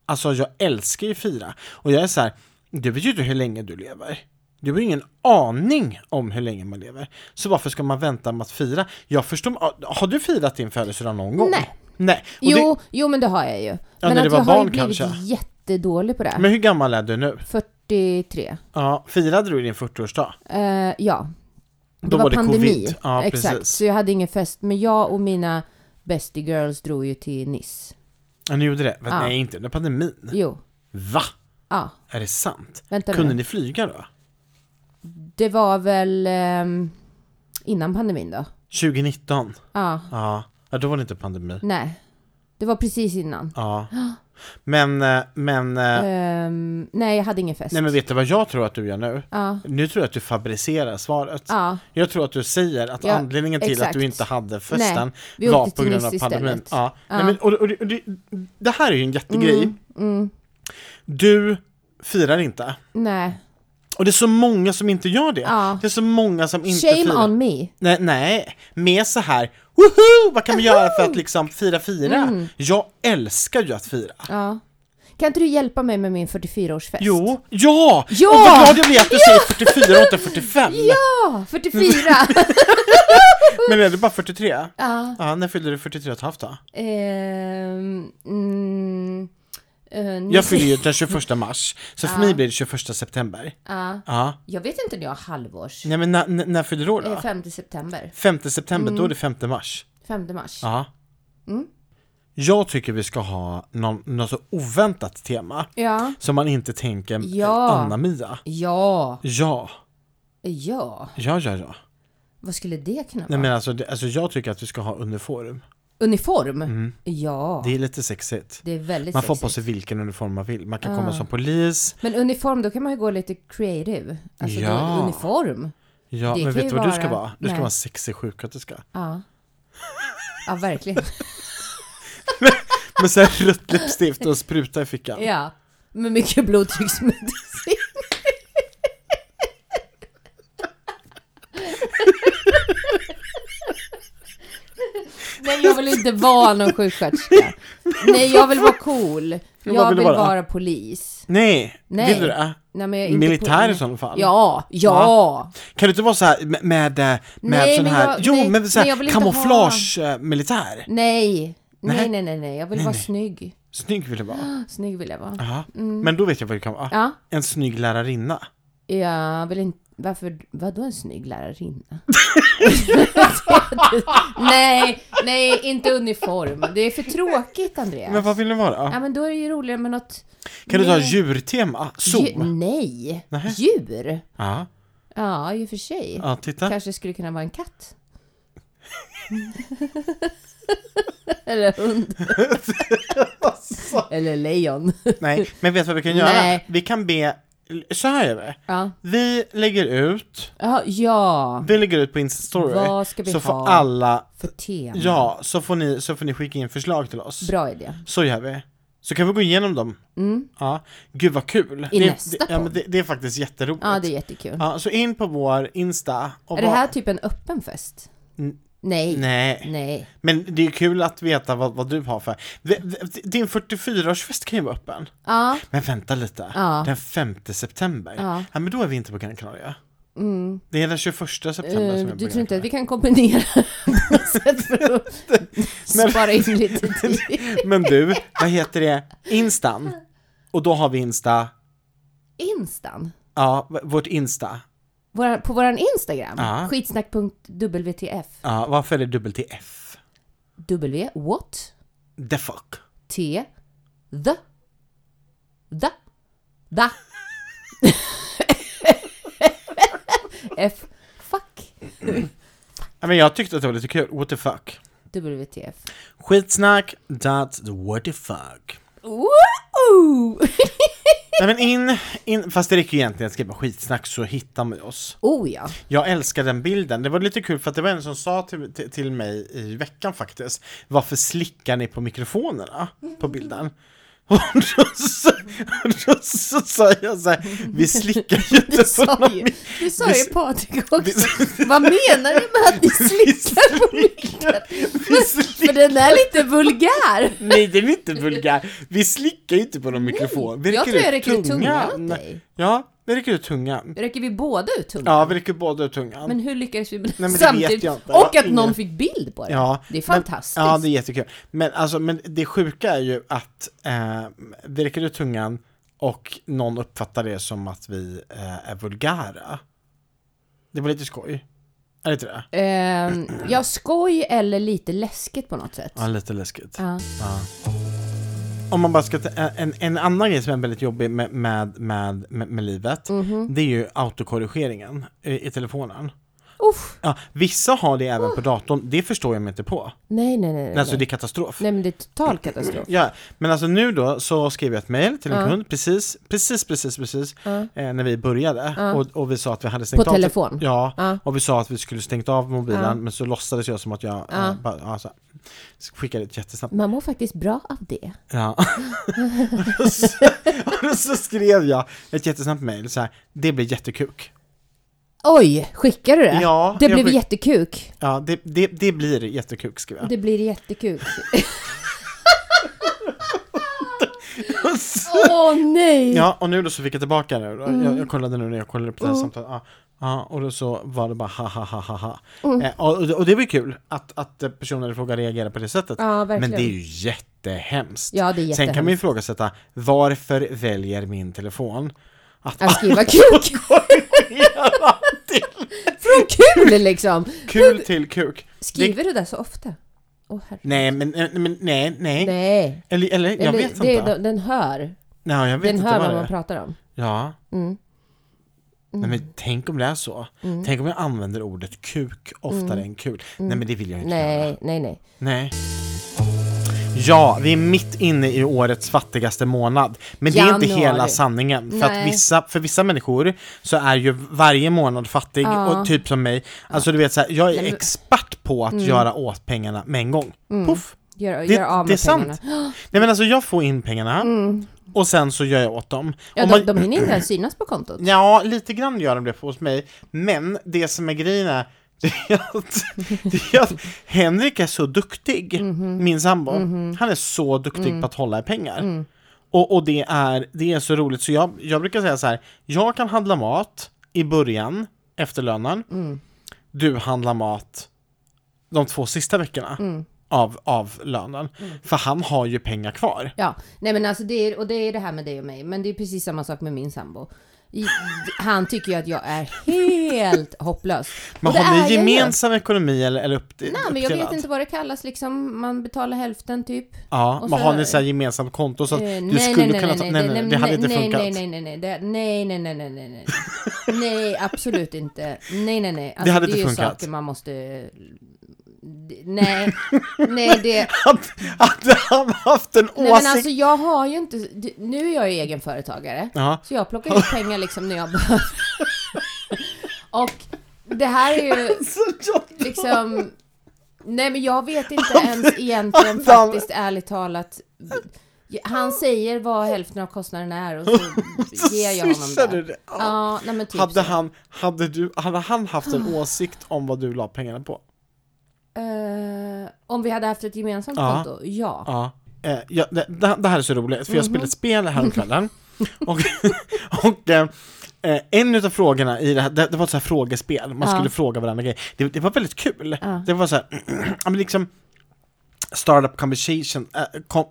Speaker 1: Alltså jag älskar ju fira. Och jag är så här, det vet ju inte hur länge du lever. Du har ju ingen aning om hur länge man lever. Så varför ska man vänta med att fira? Jag förstår, har du firat din födelsedag någon gång?
Speaker 3: Nej.
Speaker 1: Nej. Och
Speaker 3: Jo, jo, men det har jag ju. men
Speaker 1: när
Speaker 3: att
Speaker 1: du var
Speaker 3: jag har
Speaker 1: barn
Speaker 3: ju blivit
Speaker 1: kanske.
Speaker 3: jättedålig på det.
Speaker 1: Det, men hur gammal är du nu?
Speaker 3: 43.
Speaker 1: Ja, firade du din 40-årsdag?
Speaker 3: Eh, ja. Det
Speaker 1: Då
Speaker 3: var,
Speaker 1: var det
Speaker 3: pandemi.
Speaker 1: covid. Ja,
Speaker 3: Exakt,
Speaker 1: precis.
Speaker 3: så jag hade ingen fest. Men jag och mina bestie girls drog ju till Nice.
Speaker 1: Ja, ni gjorde det? Men,
Speaker 3: Ja.
Speaker 1: Nej, inte under pandemin.
Speaker 3: Jo,
Speaker 1: Va?
Speaker 3: ja.
Speaker 1: Är det sant?
Speaker 3: Vänta
Speaker 1: Kunde
Speaker 3: nu.
Speaker 1: ni flyga då?
Speaker 3: Det var väl ehm, innan pandemin då?
Speaker 1: 2019?
Speaker 3: Ja,
Speaker 1: Ja. ja, då var det inte pandemi.
Speaker 3: nej. Det var precis innan.
Speaker 1: Ja. Men, eh, men, eh,
Speaker 3: Ehm, nej, jag hade ingen fest.
Speaker 1: nej men vet du vad jag tror att du gör nu?
Speaker 3: Ja,
Speaker 1: Nu tror jag att du fabricerar svaret.
Speaker 3: ja.
Speaker 1: Jag tror att du säger att
Speaker 3: Ja,
Speaker 1: anledningen till att
Speaker 3: exakt.
Speaker 1: du inte hade festen
Speaker 3: vi
Speaker 1: var
Speaker 3: åkte
Speaker 1: på
Speaker 3: till
Speaker 1: grund av
Speaker 3: Nice
Speaker 1: pandemin.
Speaker 3: istället.
Speaker 1: Ja. Nej,
Speaker 3: Ja.
Speaker 1: men, och, och, och, det, det här är ju en jättegrej.
Speaker 3: Mm, mm,
Speaker 1: Du firar inte.
Speaker 3: nej.
Speaker 1: Och det är så många som inte gör det.
Speaker 3: Ja.
Speaker 1: Det är så många som inte
Speaker 3: Shame
Speaker 1: firar.
Speaker 3: on me.
Speaker 1: Nej, nej, mer så här Woho! Vad kan vi göra för att liksom fira fira?
Speaker 3: Mm.
Speaker 1: Jag älskar ju att fira.
Speaker 3: Ja. Kan inte du hjälpa mig med min 44-årsfest?
Speaker 1: Jo, ja!
Speaker 3: Ja!
Speaker 1: Och vad glad jag blir att du säger 44 och inte 45.
Speaker 3: Ja, 44!
Speaker 1: Men är det bara 43?
Speaker 3: ja.
Speaker 1: Ja, när fyllde du 43 och ett halvt då?
Speaker 3: Ehm, mm, eh, ni-
Speaker 1: Jag fyller ju den 21 mars, så för
Speaker 3: Ja.
Speaker 1: mig blir det 21 september.
Speaker 3: Ja.
Speaker 1: Ja.
Speaker 3: Jag vet inte när jag har halvårs.
Speaker 1: Nej men när, när när fyllde du år
Speaker 3: Eh,
Speaker 1: då?
Speaker 3: 5 september.
Speaker 1: 5 september, då är det
Speaker 3: Mm.
Speaker 1: 5 mars.
Speaker 3: 5 mars.
Speaker 1: Ja.
Speaker 3: Mm.
Speaker 1: Jag tycker vi ska ha någon, något så oväntat tema.
Speaker 3: Ja.
Speaker 1: Som man inte tänker
Speaker 3: Ja.
Speaker 1: Anna-Mia.
Speaker 3: Ja.
Speaker 1: Ja,
Speaker 3: Ja.
Speaker 1: ja, ja, ja.
Speaker 3: Vad skulle det kunna vara?
Speaker 1: Nej men alltså, det, alltså jag tycker att vi ska ha uniform.
Speaker 3: Uniform? Ja.
Speaker 1: Mm. Det är lite sexigt.
Speaker 3: Det är väldigt
Speaker 1: Man får på
Speaker 3: sexigt.
Speaker 1: sig vilken uniform man vill. Man kan
Speaker 3: Ah.
Speaker 1: komma som polis.
Speaker 3: Men uniform, då kan man ju gå lite creative. Alltså
Speaker 1: Ja.
Speaker 3: då, uniform.
Speaker 1: Ja,
Speaker 3: Det
Speaker 1: men
Speaker 3: kan
Speaker 1: vet
Speaker 3: ju
Speaker 1: du vad du ska
Speaker 3: vara-
Speaker 1: vara? Du ska
Speaker 3: Nej.
Speaker 1: vara en sexig sjuksköterska.
Speaker 3: Ja. Ja, verkligen.
Speaker 1: Med såhär rött läppstift och spruta i fickan.
Speaker 3: Ja. Med mycket blodtrycksmedicin. Nej, jag vill inte vara någon sjuksköterska. Nej, jag vill vara cool. Jag
Speaker 1: vill
Speaker 3: vill
Speaker 1: du vara?
Speaker 3: vara polis.
Speaker 1: Nej,
Speaker 3: Nej.
Speaker 1: vill du det?
Speaker 3: Nej, men jag är inte
Speaker 1: Militär i
Speaker 3: pol-
Speaker 1: sådana fall.
Speaker 3: Ja, ja,
Speaker 1: Kan du inte vara så här med, med, eh, med
Speaker 3: Nej,
Speaker 1: sån
Speaker 3: men
Speaker 1: här,
Speaker 3: jag-
Speaker 1: jo
Speaker 3: nej,
Speaker 1: men så
Speaker 3: men jag
Speaker 1: här eh,
Speaker 3: vill inte
Speaker 1: kamouflage-militär?
Speaker 3: Nej.
Speaker 1: Nej. Ah.
Speaker 3: Nej, nej, nej, nej. Jag vill vara snygg.
Speaker 1: Snygg vill du vara.
Speaker 3: Snygg vill jag vara.
Speaker 1: Ja. Men då vet jag vad du kan vara.
Speaker 3: Mm. Ja,
Speaker 1: En snygg lärarinna.
Speaker 3: jag vill inte... Varför? Vadå en snygg lärarinna? nej, nej, inte uniform. Det är för tråkigt, Andreas.
Speaker 1: Men vad vill du vara?
Speaker 3: Ja, men då är det ju roligare med något...
Speaker 1: Kan du ta
Speaker 3: mer-
Speaker 1: djurtema? Zoo?
Speaker 3: Dju- Nej,
Speaker 1: Nähä.
Speaker 3: djur.
Speaker 1: Ja,
Speaker 3: Ja, i och för sig.
Speaker 1: ja titta.
Speaker 3: Kanske skulle kunna vara en katt. Eller hund. Eller lejon.
Speaker 1: Nej, men vet du vad vi kan göra?
Speaker 3: Nej.
Speaker 1: Vi kan be, så här gör vi.
Speaker 3: Ja,
Speaker 1: Vi lägger ut,
Speaker 3: ja, ja.
Speaker 1: vi lägger ut på Insta Story.
Speaker 3: Vad ska vi
Speaker 1: så får
Speaker 3: ha?
Speaker 1: alla,
Speaker 3: för tema.
Speaker 1: ja, så får, ni, så får ni skicka in förslag till oss.
Speaker 3: Bra idé.
Speaker 1: Så gör vi. Så kan vi gå igenom dem.
Speaker 3: Mm.
Speaker 1: Ja. Gud vad kul.
Speaker 3: I
Speaker 1: det,
Speaker 3: nästa
Speaker 1: det, ja, men
Speaker 3: podd.
Speaker 1: det, det är faktiskt jätteroligt.
Speaker 3: Ja, det är jättekul.
Speaker 1: ja, så in på vår Insta. Och
Speaker 3: Är det
Speaker 1: vad-
Speaker 3: här typ en öppen fest?
Speaker 1: Mm.
Speaker 3: Nej. Nej.
Speaker 1: Nej, men det är kul att veta vad, vad du har för... V- v- Din 44-årsfest kan ju vara öppen.
Speaker 3: Ja.
Speaker 1: Men vänta lite,
Speaker 3: Ja.
Speaker 1: den 5 september?
Speaker 3: Ja.
Speaker 1: men då är vi inte på Gran Canaria.
Speaker 3: Mm.
Speaker 1: Det är den 21 september som
Speaker 3: Eh,
Speaker 1: är på
Speaker 3: du
Speaker 1: Gran
Speaker 3: tror inte att
Speaker 1: Canaria.
Speaker 3: vi kan kombinera på något sätt för att
Speaker 1: Men-
Speaker 3: spara in lite tid?
Speaker 1: Men du, vad heter det? Instan. Och då har vi Insta,
Speaker 3: Instan?
Speaker 1: ja, v- vårt Insta.
Speaker 3: Våra, på våran Instagram?
Speaker 1: Ja.
Speaker 3: Skitsnack.wtf
Speaker 1: Ja, varför är det dubbel till F?
Speaker 3: W? What?
Speaker 1: The fuck.
Speaker 3: T. The. Da. Da. F. Fuck.
Speaker 1: Ja, Men jag tyckte att det var lite kul. What the fuck.
Speaker 3: WTF.
Speaker 1: Skitsnack. That's the what the fuck.
Speaker 3: Woo!
Speaker 1: Nej men in, in, fast det räcker ju egentligen att skriva skitsnack så hittar man oss.
Speaker 3: oh ja.
Speaker 1: Jag älskar den bilden. Det var lite kul för att det var en som sa till, till, till mig i veckan faktiskt. Varför slickar ni på mikrofonerna på bilden? Och då, så, och då så sa jag så här, vi slickar ju inte
Speaker 3: Det
Speaker 1: på
Speaker 3: sa
Speaker 1: någon
Speaker 3: ju,
Speaker 1: mi-
Speaker 3: det sa ju
Speaker 1: vi-
Speaker 3: Patrik också. Vad menar du med att ni slickar på micken?
Speaker 1: vi slick-
Speaker 3: För den är lite vulgär.
Speaker 1: Nej den är inte vulgär. Vi slickar ju inte på någon mikrofon. Vi
Speaker 3: Jag
Speaker 1: räcker
Speaker 3: tror jag
Speaker 1: ut
Speaker 3: räcker ut tungan åt dig.
Speaker 1: Ja, vi räcker ut tungan.
Speaker 3: Räcker vi båda ut tungan?
Speaker 1: Ja, vi räcker båda ut tungan.
Speaker 3: Men hur lyckades vi med det
Speaker 1: men det vet
Speaker 3: samtidigt?
Speaker 1: jag inte.
Speaker 3: Och
Speaker 1: Jag
Speaker 3: att
Speaker 1: har
Speaker 3: någon
Speaker 1: ingen-
Speaker 3: fick bild på det.
Speaker 1: Ja,
Speaker 3: Det är
Speaker 1: men-
Speaker 3: fantastiskt.
Speaker 1: Ja, det är jättekul. Men, alltså, men det sjuka är ju att eh, vi räcker ut tungan och någon uppfattar det som att vi eh, är vulgära. Det var lite skoj. Är det inte det?
Speaker 3: Ehm, ja, skoj eller lite läskigt på något sätt.
Speaker 1: Ja, lite läskigt.
Speaker 3: Ja.
Speaker 1: Om man bara ska ta eh, en, en annan grej som är väldigt jobbig med, med, med, med, med livet,
Speaker 3: Mhm.
Speaker 1: det är ju autokorrigeringen i, i telefonen.
Speaker 3: Uff,
Speaker 1: Ja, vissa har det även på datorn, det förstår jag mig inte på.
Speaker 3: nej, nej, nej. Nej,
Speaker 1: Alltså
Speaker 3: nej.
Speaker 1: det är katastrof.
Speaker 3: nej men det är total katastrof.
Speaker 1: Ja, men alltså nu då så skrev jag ett mejl till en kund precis, precis, precis, precis eh, när vi började och, och vi sa att vi hade stängt
Speaker 3: På
Speaker 1: av
Speaker 3: telefon?
Speaker 1: Ja,
Speaker 3: Ja.
Speaker 1: och vi sa att vi skulle stängt av mobilen men så låtsades jag som att jag eh, bara, ja, så här, skickade ett jättesnabbt
Speaker 3: Man mår faktiskt bra av det.
Speaker 1: Ja. och, så, och så skrev jag ett jättesnabbt mejl så här, det blir jättekuk.
Speaker 3: Oj, skickar du det?
Speaker 1: Ja,
Speaker 3: det
Speaker 1: jag
Speaker 3: blev
Speaker 1: skick-
Speaker 3: jättekuk.
Speaker 1: Ja, det, det, det blir jättekuk skrev jag.
Speaker 3: Det blir jättekuk.
Speaker 1: Och så-
Speaker 3: Åh nej!
Speaker 1: Ja, och nu då så fick jag tillbaka det. Jag,
Speaker 3: Mm.
Speaker 1: jag kollade nu när jag kollade upp det här samtalet. Ja, ja, och då så var det bara ha ha ha ha ha.
Speaker 3: Mm.
Speaker 1: Eh, och, och det var ju kul att, att eh, personen i fråga reagerade på det sättet.
Speaker 3: Ja,
Speaker 1: Men
Speaker 3: verkligen.
Speaker 1: det är ju jättehemskt.
Speaker 3: Ja, det
Speaker 1: Sen kan
Speaker 3: är jättehemskt.
Speaker 1: man ju ifrågasätta varför väljer min telefon att
Speaker 3: Att skriva kuk
Speaker 1: korrigera till
Speaker 3: från kul liksom!
Speaker 1: kul till kuk?
Speaker 3: Skriver du det så ofta? Åh herregud.
Speaker 1: Nej, men, eh, men nej, nej.
Speaker 3: Nej.
Speaker 1: Eller, eller, jag
Speaker 3: Eller,
Speaker 1: vet
Speaker 3: det,
Speaker 1: inte.
Speaker 3: Den, den hör.
Speaker 1: Nej, jag vet
Speaker 3: Den
Speaker 1: inte
Speaker 3: hör
Speaker 1: vad
Speaker 3: vad
Speaker 1: det
Speaker 3: man
Speaker 1: är.
Speaker 3: pratar Mm. om.
Speaker 1: Ja. Nej, men tänk om det är så.
Speaker 3: Mm.
Speaker 1: Tänk om jag använder ordet kuk oftare än kul. Nej men det vill jag inte göra.
Speaker 3: Nej, nej, nej.
Speaker 1: Nej. Ja, vi är mitt inne i årets fattigaste månad. Men det är inte
Speaker 3: Januari.
Speaker 1: hela sanningen. För, att
Speaker 3: Nej.
Speaker 1: vissa, för vissa människor så är ju varje månad fattig, och typ som mig. Alltså du vet så här, jag är
Speaker 3: men-
Speaker 1: expert på att göra åt pengarna med en gång. Puff!
Speaker 3: Gör,
Speaker 1: Det,
Speaker 3: gör av med
Speaker 1: det är sant.
Speaker 3: pengarna. Mm.
Speaker 1: Nej men alltså jag får in pengarna och sen så gör jag åt dem.
Speaker 3: Ja,
Speaker 1: Om
Speaker 3: de,
Speaker 1: man-
Speaker 3: de hinner inte ens synas på kontot.
Speaker 1: Ja, lite grann gör de det hos mig. Men det som är grejen är det är att, det är att Henrik är så duktig,
Speaker 3: Mhm.
Speaker 1: min sambo. Han är så duktig
Speaker 3: Mm.
Speaker 1: på att hålla i pengar. Och, och det, är, det är så roligt, så jag, jag brukar säga så här, jag kan handla mat i början, efter lönen.
Speaker 3: Mm.
Speaker 1: Du handlar mat de två sista veckorna
Speaker 3: Mm.
Speaker 1: av, av lönen. För han har ju pengar kvar.
Speaker 3: Ja, nej men alltså det är, och det är det här med dig och mig, men det är precis samma sak med min sambo. I- Han tycker ju att jag är helt hopplös.
Speaker 1: Men
Speaker 3: Och det
Speaker 1: har ni
Speaker 3: är jag ju.
Speaker 1: gemensam ekonomi eller, eller upp,
Speaker 3: Nej men jag
Speaker 1: uppdelad?
Speaker 3: vet inte vad det kallas liksom, man betalar hälften typ.
Speaker 1: Ja,
Speaker 3: Och
Speaker 1: men
Speaker 3: så-
Speaker 1: har ni så här gemensamt konto så att
Speaker 3: Eh, nej,
Speaker 1: du skulle kunna ta... Nej, nej, det hade
Speaker 3: nej,
Speaker 1: inte
Speaker 3: nej,
Speaker 1: funkat.
Speaker 3: nej, nej, nej, nej, det- nej, nej, nej, nej, nej, nej, nej, absolut inte, nej, nej, nej, alltså,
Speaker 1: hade
Speaker 3: det
Speaker 1: inte
Speaker 3: är ju
Speaker 1: funkat.
Speaker 3: saker man måste, det- nej, nej, det,
Speaker 1: Att, att han haft en
Speaker 3: nej, men
Speaker 1: åsikt!
Speaker 3: alltså jag har ju inte, nu är jag ju egenföretagare,
Speaker 1: Ja.
Speaker 3: Så jag plockar ut pengar liksom när jag behöver. Och det här är ju liksom... Nej men jag vet inte ens egentligen
Speaker 1: Adam.
Speaker 3: faktiskt ärligt talat. Han säger vad hälften av kostnaden är och så
Speaker 1: Så
Speaker 3: ger jag honom
Speaker 1: swishar du
Speaker 3: det.
Speaker 1: det. Ja.
Speaker 3: Ja, nej men typ
Speaker 1: hade,
Speaker 3: så. Ah.
Speaker 1: han, hade, du, hade han haft en åsikt om vad du la pengarna på?
Speaker 3: Eh, om vi hade haft ett gemensamt
Speaker 1: Ja.
Speaker 3: konto? Ja. Mhm.
Speaker 1: Ja. Eh, ja, det, det det här är så roligt, för jag spelade ett spel häromkvällen och, och eh, eh, en utav frågorna i det här, det, det var ett så här frågespel, man
Speaker 3: Ja.
Speaker 1: skulle fråga varandra grejer. Det, det var väldigt kul. Det var så här, ja, men liksom startup conversation, eh, kom,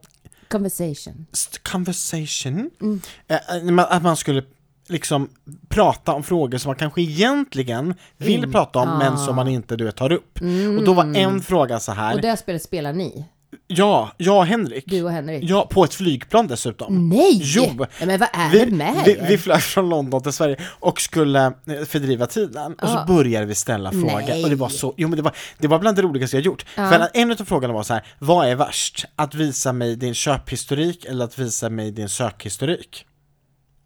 Speaker 3: Conversation.
Speaker 1: st- conversation.
Speaker 3: Mm.
Speaker 1: Eh, eh, när man- att man skulle liksom prata om frågor som man kanske egentligen vill
Speaker 3: Ah. Mm.
Speaker 1: prata om men som man inte du vet, tar upp. Och då var en fråga så här.
Speaker 3: Och det spelet spelar ni?
Speaker 1: Ja, jag och Henrik.
Speaker 3: Du och Henrik.
Speaker 1: Ja, på ett flygplan dessutom.
Speaker 3: Nej!
Speaker 1: Jo!
Speaker 3: Ja, men vad Mm. är det med
Speaker 1: vi,
Speaker 3: er?
Speaker 1: vi flög från London till Sverige och skulle eh, fördriva tiden och så
Speaker 3: Ja.
Speaker 1: började vi ställa frågor
Speaker 3: Ah. Nej. Ah.
Speaker 1: och det var så, jo men det var, det var bland det roligaste jag gjort. För en av frågorna var så här, vad är värst? Att visa mig din köphistorik eller att visa mig din sökhistorik?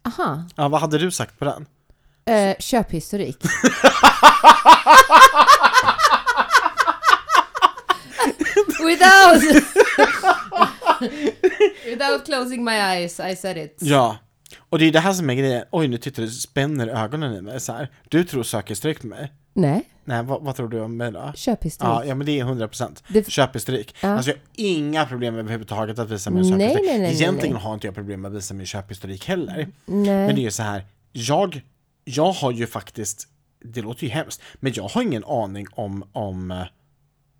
Speaker 3: Aha.
Speaker 1: Ja, vad hade du sagt på den?
Speaker 3: Eh, köphistorik. Without... Without closing my eyes, I said it.
Speaker 1: Ja, och det är det här som är grejen, oj nu tittar du, spänner ögonen i mig så här. Du tror sökhistorik på mig?
Speaker 3: Nej,
Speaker 1: Nej, vad, vad tror du om mig då?
Speaker 3: köphistorik.
Speaker 1: Ja, ja men det är 100 procent.
Speaker 3: Det-
Speaker 1: Köphistorik. Alltså jag har inga problem överhuvudtaget att visa min
Speaker 3: Nej,
Speaker 1: köphistorik.
Speaker 3: nej, nej, nej,
Speaker 1: Egentligen
Speaker 3: nej.
Speaker 1: har inte jag problem med att visa min köphistorik heller.
Speaker 3: Nej.
Speaker 1: Men det är ju så här, jag, jag har ju faktiskt, det låter ju hemskt, men jag har ingen aning om, om eh,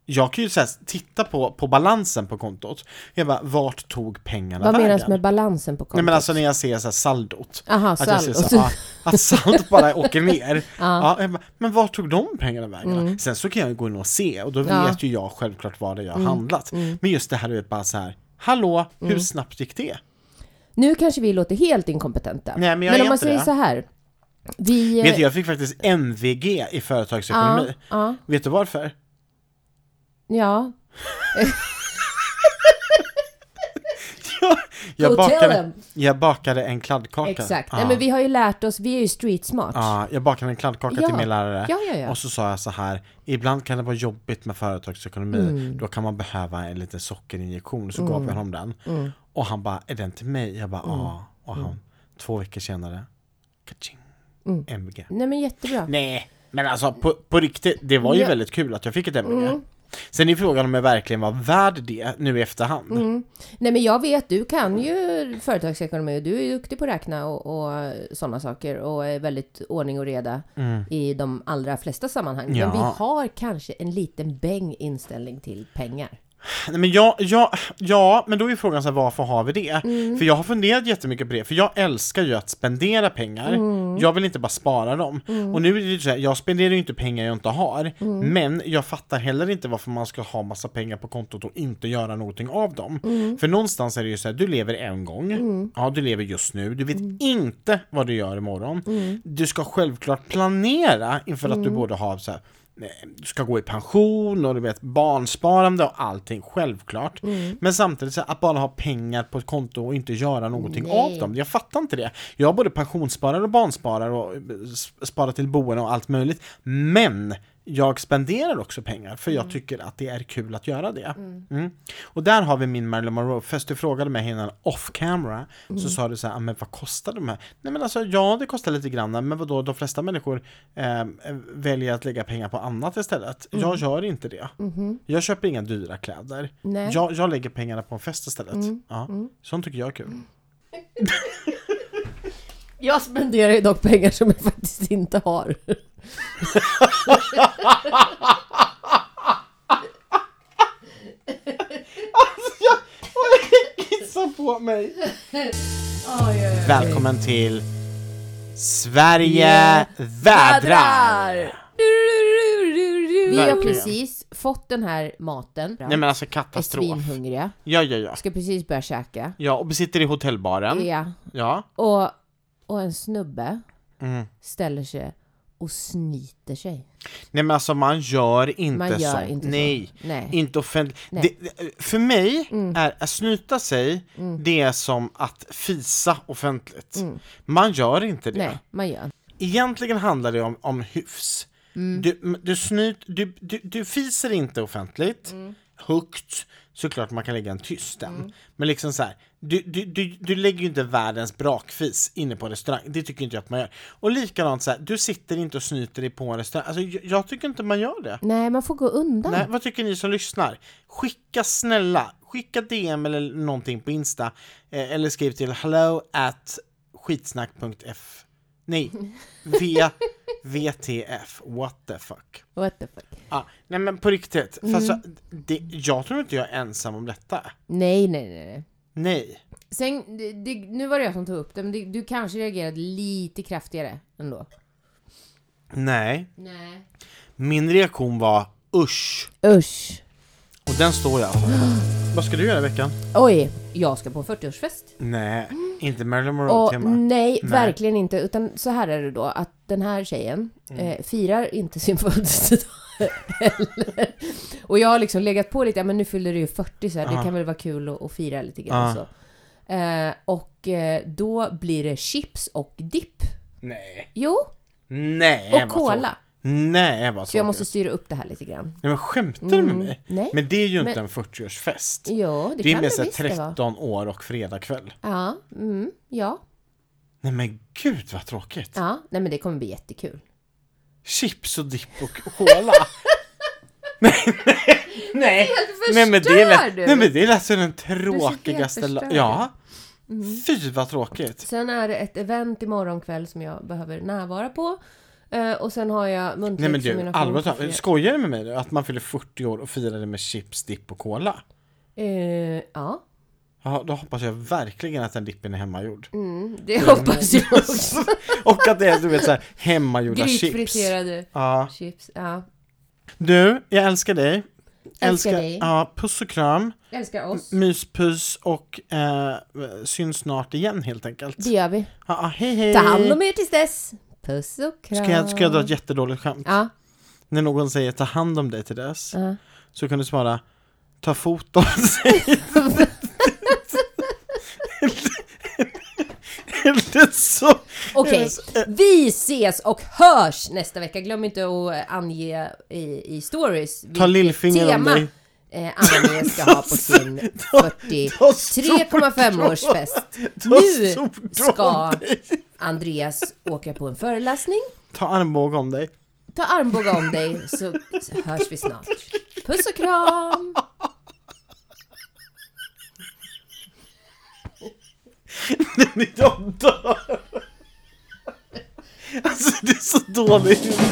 Speaker 1: jag kan ju så här, titta på, på balansen på kontot. Jag bara, vart tog pengarna
Speaker 3: Vad
Speaker 1: vägen?
Speaker 3: menas med balansen på kontot?
Speaker 1: Nej men alltså när jag ser så här saldot.
Speaker 3: Aha,
Speaker 1: att jag ser
Speaker 3: saldot.
Speaker 1: så här, ah, att saldot bara åker ner. ja. jag bara, men var tog de pengarna vägen? Sen så kan jag ju gå in och se och då
Speaker 3: Mm. Ja. Mm.
Speaker 1: vet ju jag självklart vad det är jag har handlat. Men just det här är bara så här, hallå, hur snabbt gick det?
Speaker 3: Nu kanske vi låter helt inkompetenta.
Speaker 1: Nej, men jag är
Speaker 3: om man
Speaker 1: inte
Speaker 3: säger
Speaker 1: det.
Speaker 3: så här. Vi... eh,
Speaker 1: Vet du, jag fick faktiskt MVG i företagsekonomi.
Speaker 3: ja.
Speaker 1: Vet du varför?
Speaker 3: Ja.
Speaker 1: jag, jag,
Speaker 3: Go tell
Speaker 1: bakade,
Speaker 3: them.
Speaker 1: jag bakade en kladdkaka.
Speaker 3: Exakt.
Speaker 1: Ja.
Speaker 3: Nej, men vi har ju lärt oss, vi är ju street smart.
Speaker 1: Ja, jag bakade en kladdkaka
Speaker 3: Ja.
Speaker 1: till min lärare
Speaker 3: Ja, ja, ja.
Speaker 1: och så sa jag så här Ibland kan det vara jobbigt med företagsekonomi
Speaker 3: Mm.
Speaker 1: Då kan man behöva en liten sockerinjektion Så gav jag honom den
Speaker 3: Mm.
Speaker 1: Och han bara, är den till mig? Jag bara, ja Och han, två veckor senare Kaching,
Speaker 3: Mm.
Speaker 1: MVG
Speaker 3: Nej men jättebra.
Speaker 1: Nej, men alltså på, på riktigt Det var ju
Speaker 3: Ja. Mm.
Speaker 1: väldigt kul att jag fick ett MVG Sen är frågan om jag verkligen var värd det nu i efterhand
Speaker 3: Mm. Nej men jag vet, du kan ju företagsekonomi och du är ju duktig på att räkna och, och sådana saker och är väldigt ordning och reda i de allra flesta sammanhang.
Speaker 1: Mm. Ja.
Speaker 3: Men vi har kanske en liten bäng inställning till pengar.
Speaker 1: Nej, men jag, jag, ja, men då är frågan så här, varför har vi det? För jag har funderat jättemycket på det, för jag älskar ju att spendera pengar. Jag vill inte bara spara dem. Och nu är det ju så här, jag spenderar ju inte pengar jag inte har, men jag fattar heller inte varför man ska ha massa pengar på kontot och inte göra någonting av dem. För någonstans är det ju så här, du lever en gång, ja du lever just nu, du vet inte vad du gör imorgon. Du ska självklart planera inför att du borde ha så här, du eh, ska gå i pension och du vet barnsparande och allting självklart. Men samtidigt så här, att bara ha pengar på ett konto och inte göra någonting av dem. Jag fattar inte det. Jag har både pensionssparare och barnsparare och eh, sp- sparar till boende och allt möjligt. Men jag spenderar också pengar för jag tycker att det är kul att göra det. Mm. Och där har vi min Marilyn Monroe-fest. Du frågade mig innan off camera så sa du så här, "Ah, men vad kostar de här? Nej men alltså ja, det kostar lite grann, men vadå, de flesta människor eh, väljer att lägga pengar på annat istället. Jag gör inte det. Jag köper inga dyra kläder.
Speaker 3: Nej.
Speaker 1: Jag, jag lägger pengarna på en fest istället. Ja. Sånt tycker jag är kul.
Speaker 3: Jag spenderar ju dock pengar som jag faktiskt inte har.
Speaker 1: Kissa på mig! Välkommen till Sverige
Speaker 3: Ja.
Speaker 1: vädrar!
Speaker 3: Vi har
Speaker 1: Verkligen.
Speaker 3: precis fått den här maten.
Speaker 1: Nej men alltså
Speaker 3: är
Speaker 1: katastrof.
Speaker 3: svinhungriga.
Speaker 1: Ja, ja, ja.
Speaker 3: Ska precis börja käka.
Speaker 1: Ja, och sitter i hotellbaren.
Speaker 3: Ja.
Speaker 1: Ja.
Speaker 3: Och, och en snubbe
Speaker 1: Mm.
Speaker 3: ställer sig och snyter sig.
Speaker 1: Nej men alltså man gör inte
Speaker 3: Man gör
Speaker 1: sånt.
Speaker 3: inte
Speaker 1: Nej.
Speaker 3: så. Nej.
Speaker 1: Inte offentligt.
Speaker 3: Nej. Mm.
Speaker 1: För mig är att snyta sig, det är som att fisa offentligt. Man gör inte det.
Speaker 3: Mm. Nej, man gör inte.
Speaker 1: Egentligen handlar det om, om hyfs. Du, m- du, snyt, du, du, du fiser inte offentligt, högt, såklart man kan lägga en tyst den. Men liksom så här, du, du, du, du lägger ju inte världens brakfis inne på en restaurang, det tycker inte jag att man gör. Och likadant så här, du sitter inte och snyter dig på en restaurang, alltså, jag, jag tycker inte man gör det.
Speaker 3: Nej, man får gå undan.
Speaker 1: Nej, vad tycker ni som lyssnar? Skicka snälla, skicka DM eller någonting på Insta eh, eller skriv till hello at skitsnack.f Nej, v, VTF, what the fuck.
Speaker 3: What the fuck?
Speaker 1: Ah, nej men på riktigt, för
Speaker 3: Mm.
Speaker 1: alltså, det, jag tror inte jag är ensam om detta.
Speaker 3: Nej, nej, nej. nej.
Speaker 1: Nej.
Speaker 3: Sen, det, det, nu var det jag som tog upp det, men det, du kanske reagerade lite kraftigare ändå.
Speaker 1: Nej.
Speaker 3: Nej.
Speaker 1: Min reaktion var usch,
Speaker 3: Usch.
Speaker 1: och den står jag för. Vad ska du göra i veckan?
Speaker 3: Oj, jag ska på 40-årsfest.
Speaker 1: Nej, inte Marilyn
Speaker 3: Och
Speaker 1: Monroe-tema.
Speaker 3: nej,
Speaker 1: Nej.
Speaker 3: verkligen inte. Utan så här är det då, att den här tjejen
Speaker 1: Mm.
Speaker 3: eh, firar inte sin födelsedag heller. Och jag har liksom legat på lite, ja, men nu fyller du ju 40 så här, det
Speaker 1: Ja.
Speaker 3: kan väl vara kul att, att fira lite grann
Speaker 1: Ja.
Speaker 3: så. Eh, och eh, då blir det chips och dipp.
Speaker 1: Nej.
Speaker 3: Jo,
Speaker 1: Nej,
Speaker 3: och
Speaker 1: vad tråkigt.
Speaker 3: cola.
Speaker 1: Nej, vad
Speaker 3: Så jag
Speaker 1: tråkigt.
Speaker 3: måste styra upp det här lite grann.
Speaker 1: Nej, men skämtar du med mig?
Speaker 3: Mm. nej.
Speaker 1: Men det är ju inte
Speaker 3: Men-
Speaker 1: en 40-årsfest.
Speaker 3: Jo, det,
Speaker 1: Det är
Speaker 3: kan
Speaker 1: mer
Speaker 3: det
Speaker 1: såhär
Speaker 3: visst det vara.
Speaker 1: 13 år och fredagkväll.
Speaker 3: Ja, mm, ja,
Speaker 1: Nej men gud vad tråkigt.
Speaker 3: ja. Nej men det kommer bli jättekul.
Speaker 1: Chips och dipp och cola. nej, nej, nej. Nej men, det
Speaker 3: förstör
Speaker 1: lät,
Speaker 3: du.
Speaker 1: nej men det lät som den
Speaker 3: helt
Speaker 1: tråkigaste... la-
Speaker 3: förstörd. Mm.
Speaker 1: Ja. Fy vad tråkigt.
Speaker 3: Sen är det ett event imorgon kväll som jag behöver närvara på. Eh, och sen har jag
Speaker 1: Nej
Speaker 3: muntligt
Speaker 1: men
Speaker 3: för
Speaker 1: du,
Speaker 3: mina
Speaker 1: allvarligt
Speaker 3: frågor.
Speaker 1: talat, skojar du med mig nu? Att man fyller 40 år och firar det med chips, dipp och cola?
Speaker 3: Eh, ja,
Speaker 1: Ja, då hoppas jag verkligen att den dippen är hemmagjord.
Speaker 3: mm, det hoppas jag också.
Speaker 1: och att det är du vet såhär hemmagjorda chips.
Speaker 3: Grytfriterade
Speaker 1: Ja.
Speaker 3: chips. Ja.
Speaker 1: Du, jag älskar dig.
Speaker 3: Älskar dig.
Speaker 1: Ja, Mm. puss och kram,
Speaker 3: Älskar oss.
Speaker 1: myspys och eh, syns snart igen helt enkelt.
Speaker 3: Det gör vi.
Speaker 1: Ja, ja, hej hej!
Speaker 3: Ta hand om er tills dess. Puss och kram.
Speaker 1: Ska jag, ska jag dra ett jättedåligt skämt?
Speaker 3: Ja.
Speaker 1: När någon säger ta hand om dig till dess,
Speaker 3: ja.
Speaker 1: så kan du svara ta foton säger du. Eller så...
Speaker 3: Okej,
Speaker 1: Eh,
Speaker 3: vi ses och hörs nästa vecka. Glöm inte att eh, ange i, i stories
Speaker 1: Ta
Speaker 3: vilket
Speaker 1: lillfinger om
Speaker 3: tema
Speaker 1: dig.
Speaker 3: eh, Annie ska ha på sin 40
Speaker 1: Ta stor-
Speaker 3: 3,5-årsfest.
Speaker 1: ta
Speaker 3: Nu
Speaker 1: stor om
Speaker 3: ska
Speaker 1: dig.
Speaker 3: Andreas åka på en föreläsning.
Speaker 1: Ta armbåge om dig.
Speaker 3: Ta armbåge om dig så hörs vi snart. Puss och kram!
Speaker 1: Den är död. Alltså det är så dåligt.